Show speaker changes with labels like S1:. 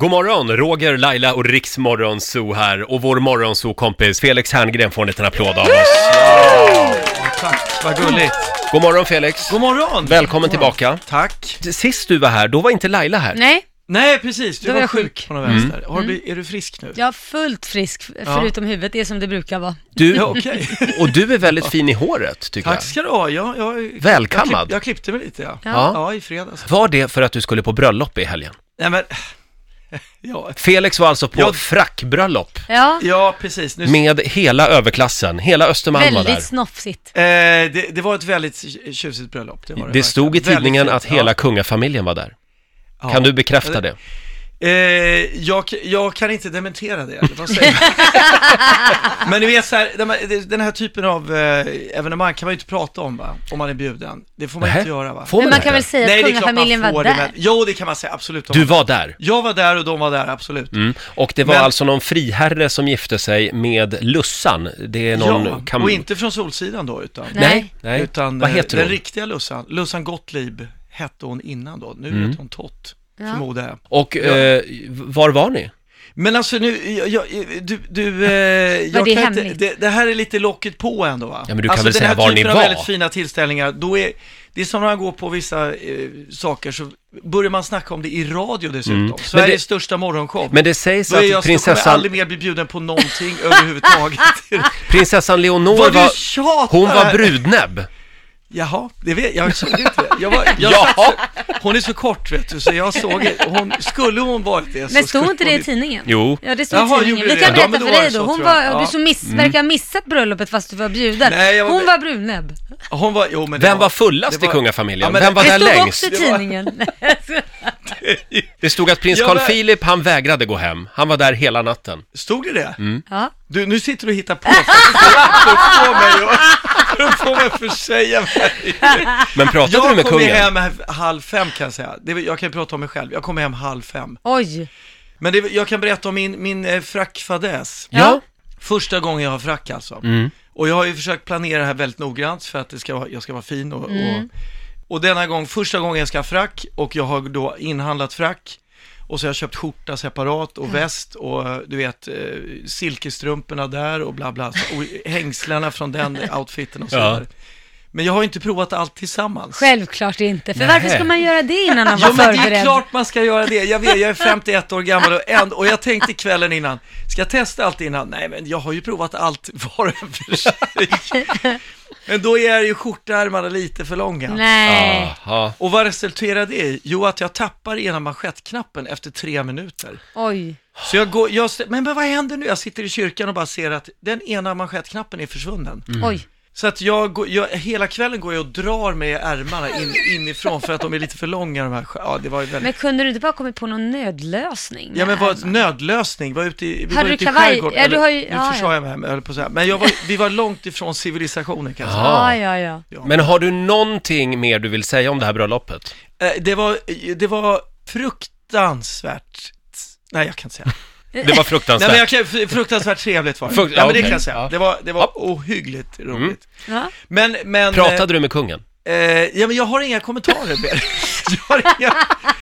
S1: God morgon, Roger, Laila och Riksmorgonzoo här och vår morgonzoo-kompis Felix Herngren får en liten applåd av oss.
S2: Tack, vad gulligt.
S1: God morgon Felix!
S2: God morgon.
S1: Välkommen tillbaka!
S2: Tack.
S1: Sist du var här, då var inte Laila här.
S3: Nej,
S2: Nej, precis. Du
S3: Då
S2: var,
S3: var jag
S2: sjuk.
S3: sjuk. Mm.
S2: på någon vänster.
S1: Mm.
S2: Har du, blivit- är du frisk nu?
S3: jag är fullt frisk f-
S2: Ja.
S3: förutom huvudet, det är som det brukar vara.
S1: Du,
S2: Ja, okej.
S1: och du är väldigt fin i håret tycker jag.
S2: Tack ska du ha. Jag, jag,
S1: Välkammad.
S2: Jag, klipp, jag klippte mig lite, ja.
S3: Ja.
S2: Ja, i fredags.
S1: Var det för att du skulle på bröllop i helgen?
S2: Nej, men... Ja,
S1: Felix var alltså på
S2: Jag-
S1: frackbröllop
S3: Ja,
S2: ja precis. Nu,
S1: med hela överklassen, hela Östermalm var där.
S3: väldigt snofsigt.
S2: eh, det, det var ett väldigt tjusigt bröllop. Det, var det,
S1: Det stod i
S2: verkligen.
S1: tidningen att
S2: Väldigt fint,
S1: hela kungafamiljen var där.
S2: ja.
S1: Kan
S2: Ja.
S1: du bekräfta det?
S2: Eh, jag, jag kan inte dementera det, eller vad säger jag? Men du vet så här, den här- den här typen av eh, evenemang kan man ju inte prata om va, om man är bjuden. Det får man
S1: Nähä.
S2: inte göra va.
S1: Får
S3: Men man kan
S1: det?
S3: väl säga att kungafamiljen var
S2: det,
S3: där?
S2: men- Jo, det kan man säga, absolut.
S1: Du var där?
S2: Jag var där och de var där, absolut.
S1: Mm. Och det var
S2: Men-
S1: alltså någon friherre som gifte sig med Lussan. Det är någon...
S2: ja,
S1: kam-
S2: och inte från Solsidan då, utan,
S3: Nej.
S1: nej.
S2: utan
S1: Vad
S2: eh,
S1: heter
S2: den
S1: hon?
S2: riktiga Lussan. Lussan Gottlieb hette hon innan då,
S1: Mm.
S2: nu heter hon Tott,
S3: Ja.
S2: förmodar jag.
S1: Och eh, var var ni?
S2: Men alltså nu, jag, jag, du, du eh, jag
S3: det
S2: kan inte,
S3: hemligt?
S2: det, det här är lite locket på ändå va?
S1: Ja, men du kan
S2: alltså,
S1: väl
S2: den
S1: säga
S2: här
S1: var ni
S2: typen av
S1: var?
S2: väldigt fina tillställningar, då är, det är som när man går på vissa eh, saker så börjar man snacka om det i radio dessutom. Sveriges
S1: Mm. det-
S2: största morgonshow.
S1: Men det sägs
S2: Då är jag
S1: att
S2: prinsessan... kommer jag aldrig
S1: prinsessan,
S2: mer bli bjuden på någonting överhuvudtaget.
S1: prinsessan Leonor
S2: Vad du
S1: var...
S2: tjatar!
S1: Hon var brudnäbb.
S2: Jaha, det vet jag, såg inte det. Jag var, jag,
S1: Ja!
S2: Hon är så kort vet du, så jag såg inte. Hon, skulle hon varit det så
S3: Men
S2: skulle
S3: stod inte
S2: hon
S3: det i tidningen?
S1: Jo.
S3: Ja, det stod
S2: Jaha,
S3: i tidningen.
S2: gjorde
S3: Vi
S2: det?
S3: kan
S2: Ja,
S3: berätta
S2: men då
S3: för
S2: var det
S3: dig då.
S2: så,
S3: Hon
S2: tror jag.
S3: var, ja.
S2: Ja. Mm.
S3: du som miss, verkar ha missat bröllopet fast du var bjuden.
S2: Nej, jag var
S3: Hon
S2: med-
S3: var brudnäbb.
S2: Hon var, jo, men det
S1: Vem var
S2: det
S1: fullast i
S2: var-
S1: kungafamiljen?
S2: Ja, men
S1: Vem var
S3: Det
S1: där
S3: stod
S1: längst?
S3: också i
S2: Det var-
S3: tidningen.
S1: Det stod att prins
S2: Ja,
S1: Carl
S2: men-
S1: Philip, han vägrade gå hem. Han var där hela natten.
S2: Stod det det?
S3: Ja.
S2: Du, nu sitter du och hittar på för att- för att få mig att- för att få mig att försäga mig.
S1: Men pratade du
S2: Jag
S1: med
S2: kom ju
S1: kungen?
S2: hem halv fem kan jag säga. Det, jag kan ju prata om mig själv. Jag kom hem halv fem.
S3: Oj.
S2: Men det, jag kan berätta om min, min eh, frackfadäs.
S1: Ja.
S2: Första gången jag har frack alltså. Och jag har ju försökt planera det här väldigt noggrant för att det ska vara, jag ska vara fin och, och, och denna gång, första gången jag ska ha frack och jag har då inhandlat frack och så har jag köpt skjorta separat och väst och eh, du vet eh, silkesstrumporna där och bla bla så- och hängslena från den outfiten och så
S1: Ja.
S2: där. Men jag har ju inte provat allt tillsammans.
S3: Självklart inte. För
S1: Nej.
S3: varför ska man göra det innan man var
S2: Ja, men det är
S3: förberedd?
S2: klart man ska göra det. Jag vet, jag är 51 år gammal och, en, och jag tänkte kvällen innan, ska jag testa allt innan? Nej, men jag har ju provat allt var och en för sig. Men då är ju skjortärmarna lite för långa.
S3: Nej.
S1: Jaha.
S2: Och vad resulterar det i? Jo, att jag tappar ena manschettknappen efter tre minuter.
S3: Oj.
S2: Så jag går, jag, men, men vad händer nu? Jag sitter i kyrkan och bara ser att den ena manschettknappen är försvunnen.
S3: Oj.
S2: Så att jag, går, jag, hela kvällen går jag och drar mig i ärmarna in, inifrån för att de är lite för långa de här, sk- ja det var ju väldigt
S3: Men kunde du inte bara kommit på någon nödlösning?
S2: Ja men
S3: Nej.
S2: vad nödlösning, var ute i, vi
S3: Hade
S2: var
S3: du
S2: ute i
S3: kavaj?
S2: skärgården.
S3: Ja, du har ju-
S2: nu
S3: ja,
S2: försade
S3: ja.
S2: jag mig, jag höll på att säga. Men jag var, vi var långt ifrån civilisationen kan jag säga.
S1: Ja.
S3: Ja, ja, ja.
S1: Men har du någonting mer du vill säga om det här bröllopet?
S2: Eh, Det var, det var fruktansvärt, nej jag kan inte säga.
S1: Det var
S2: Nej men jag
S1: fruktansvärt.
S2: kan, fruktansvärt trevligt var det.
S1: Frukt-
S2: ja, men det
S1: okej.
S2: kan jag säga.
S1: Ja.
S2: Det var, det
S1: Ja.
S2: var ohyggligt roligt.
S3: ja.
S2: Men, men... eh,
S1: Pratade du med kungen?
S2: Eh, ja men jag har inga kommentarer mer. jag, har inga,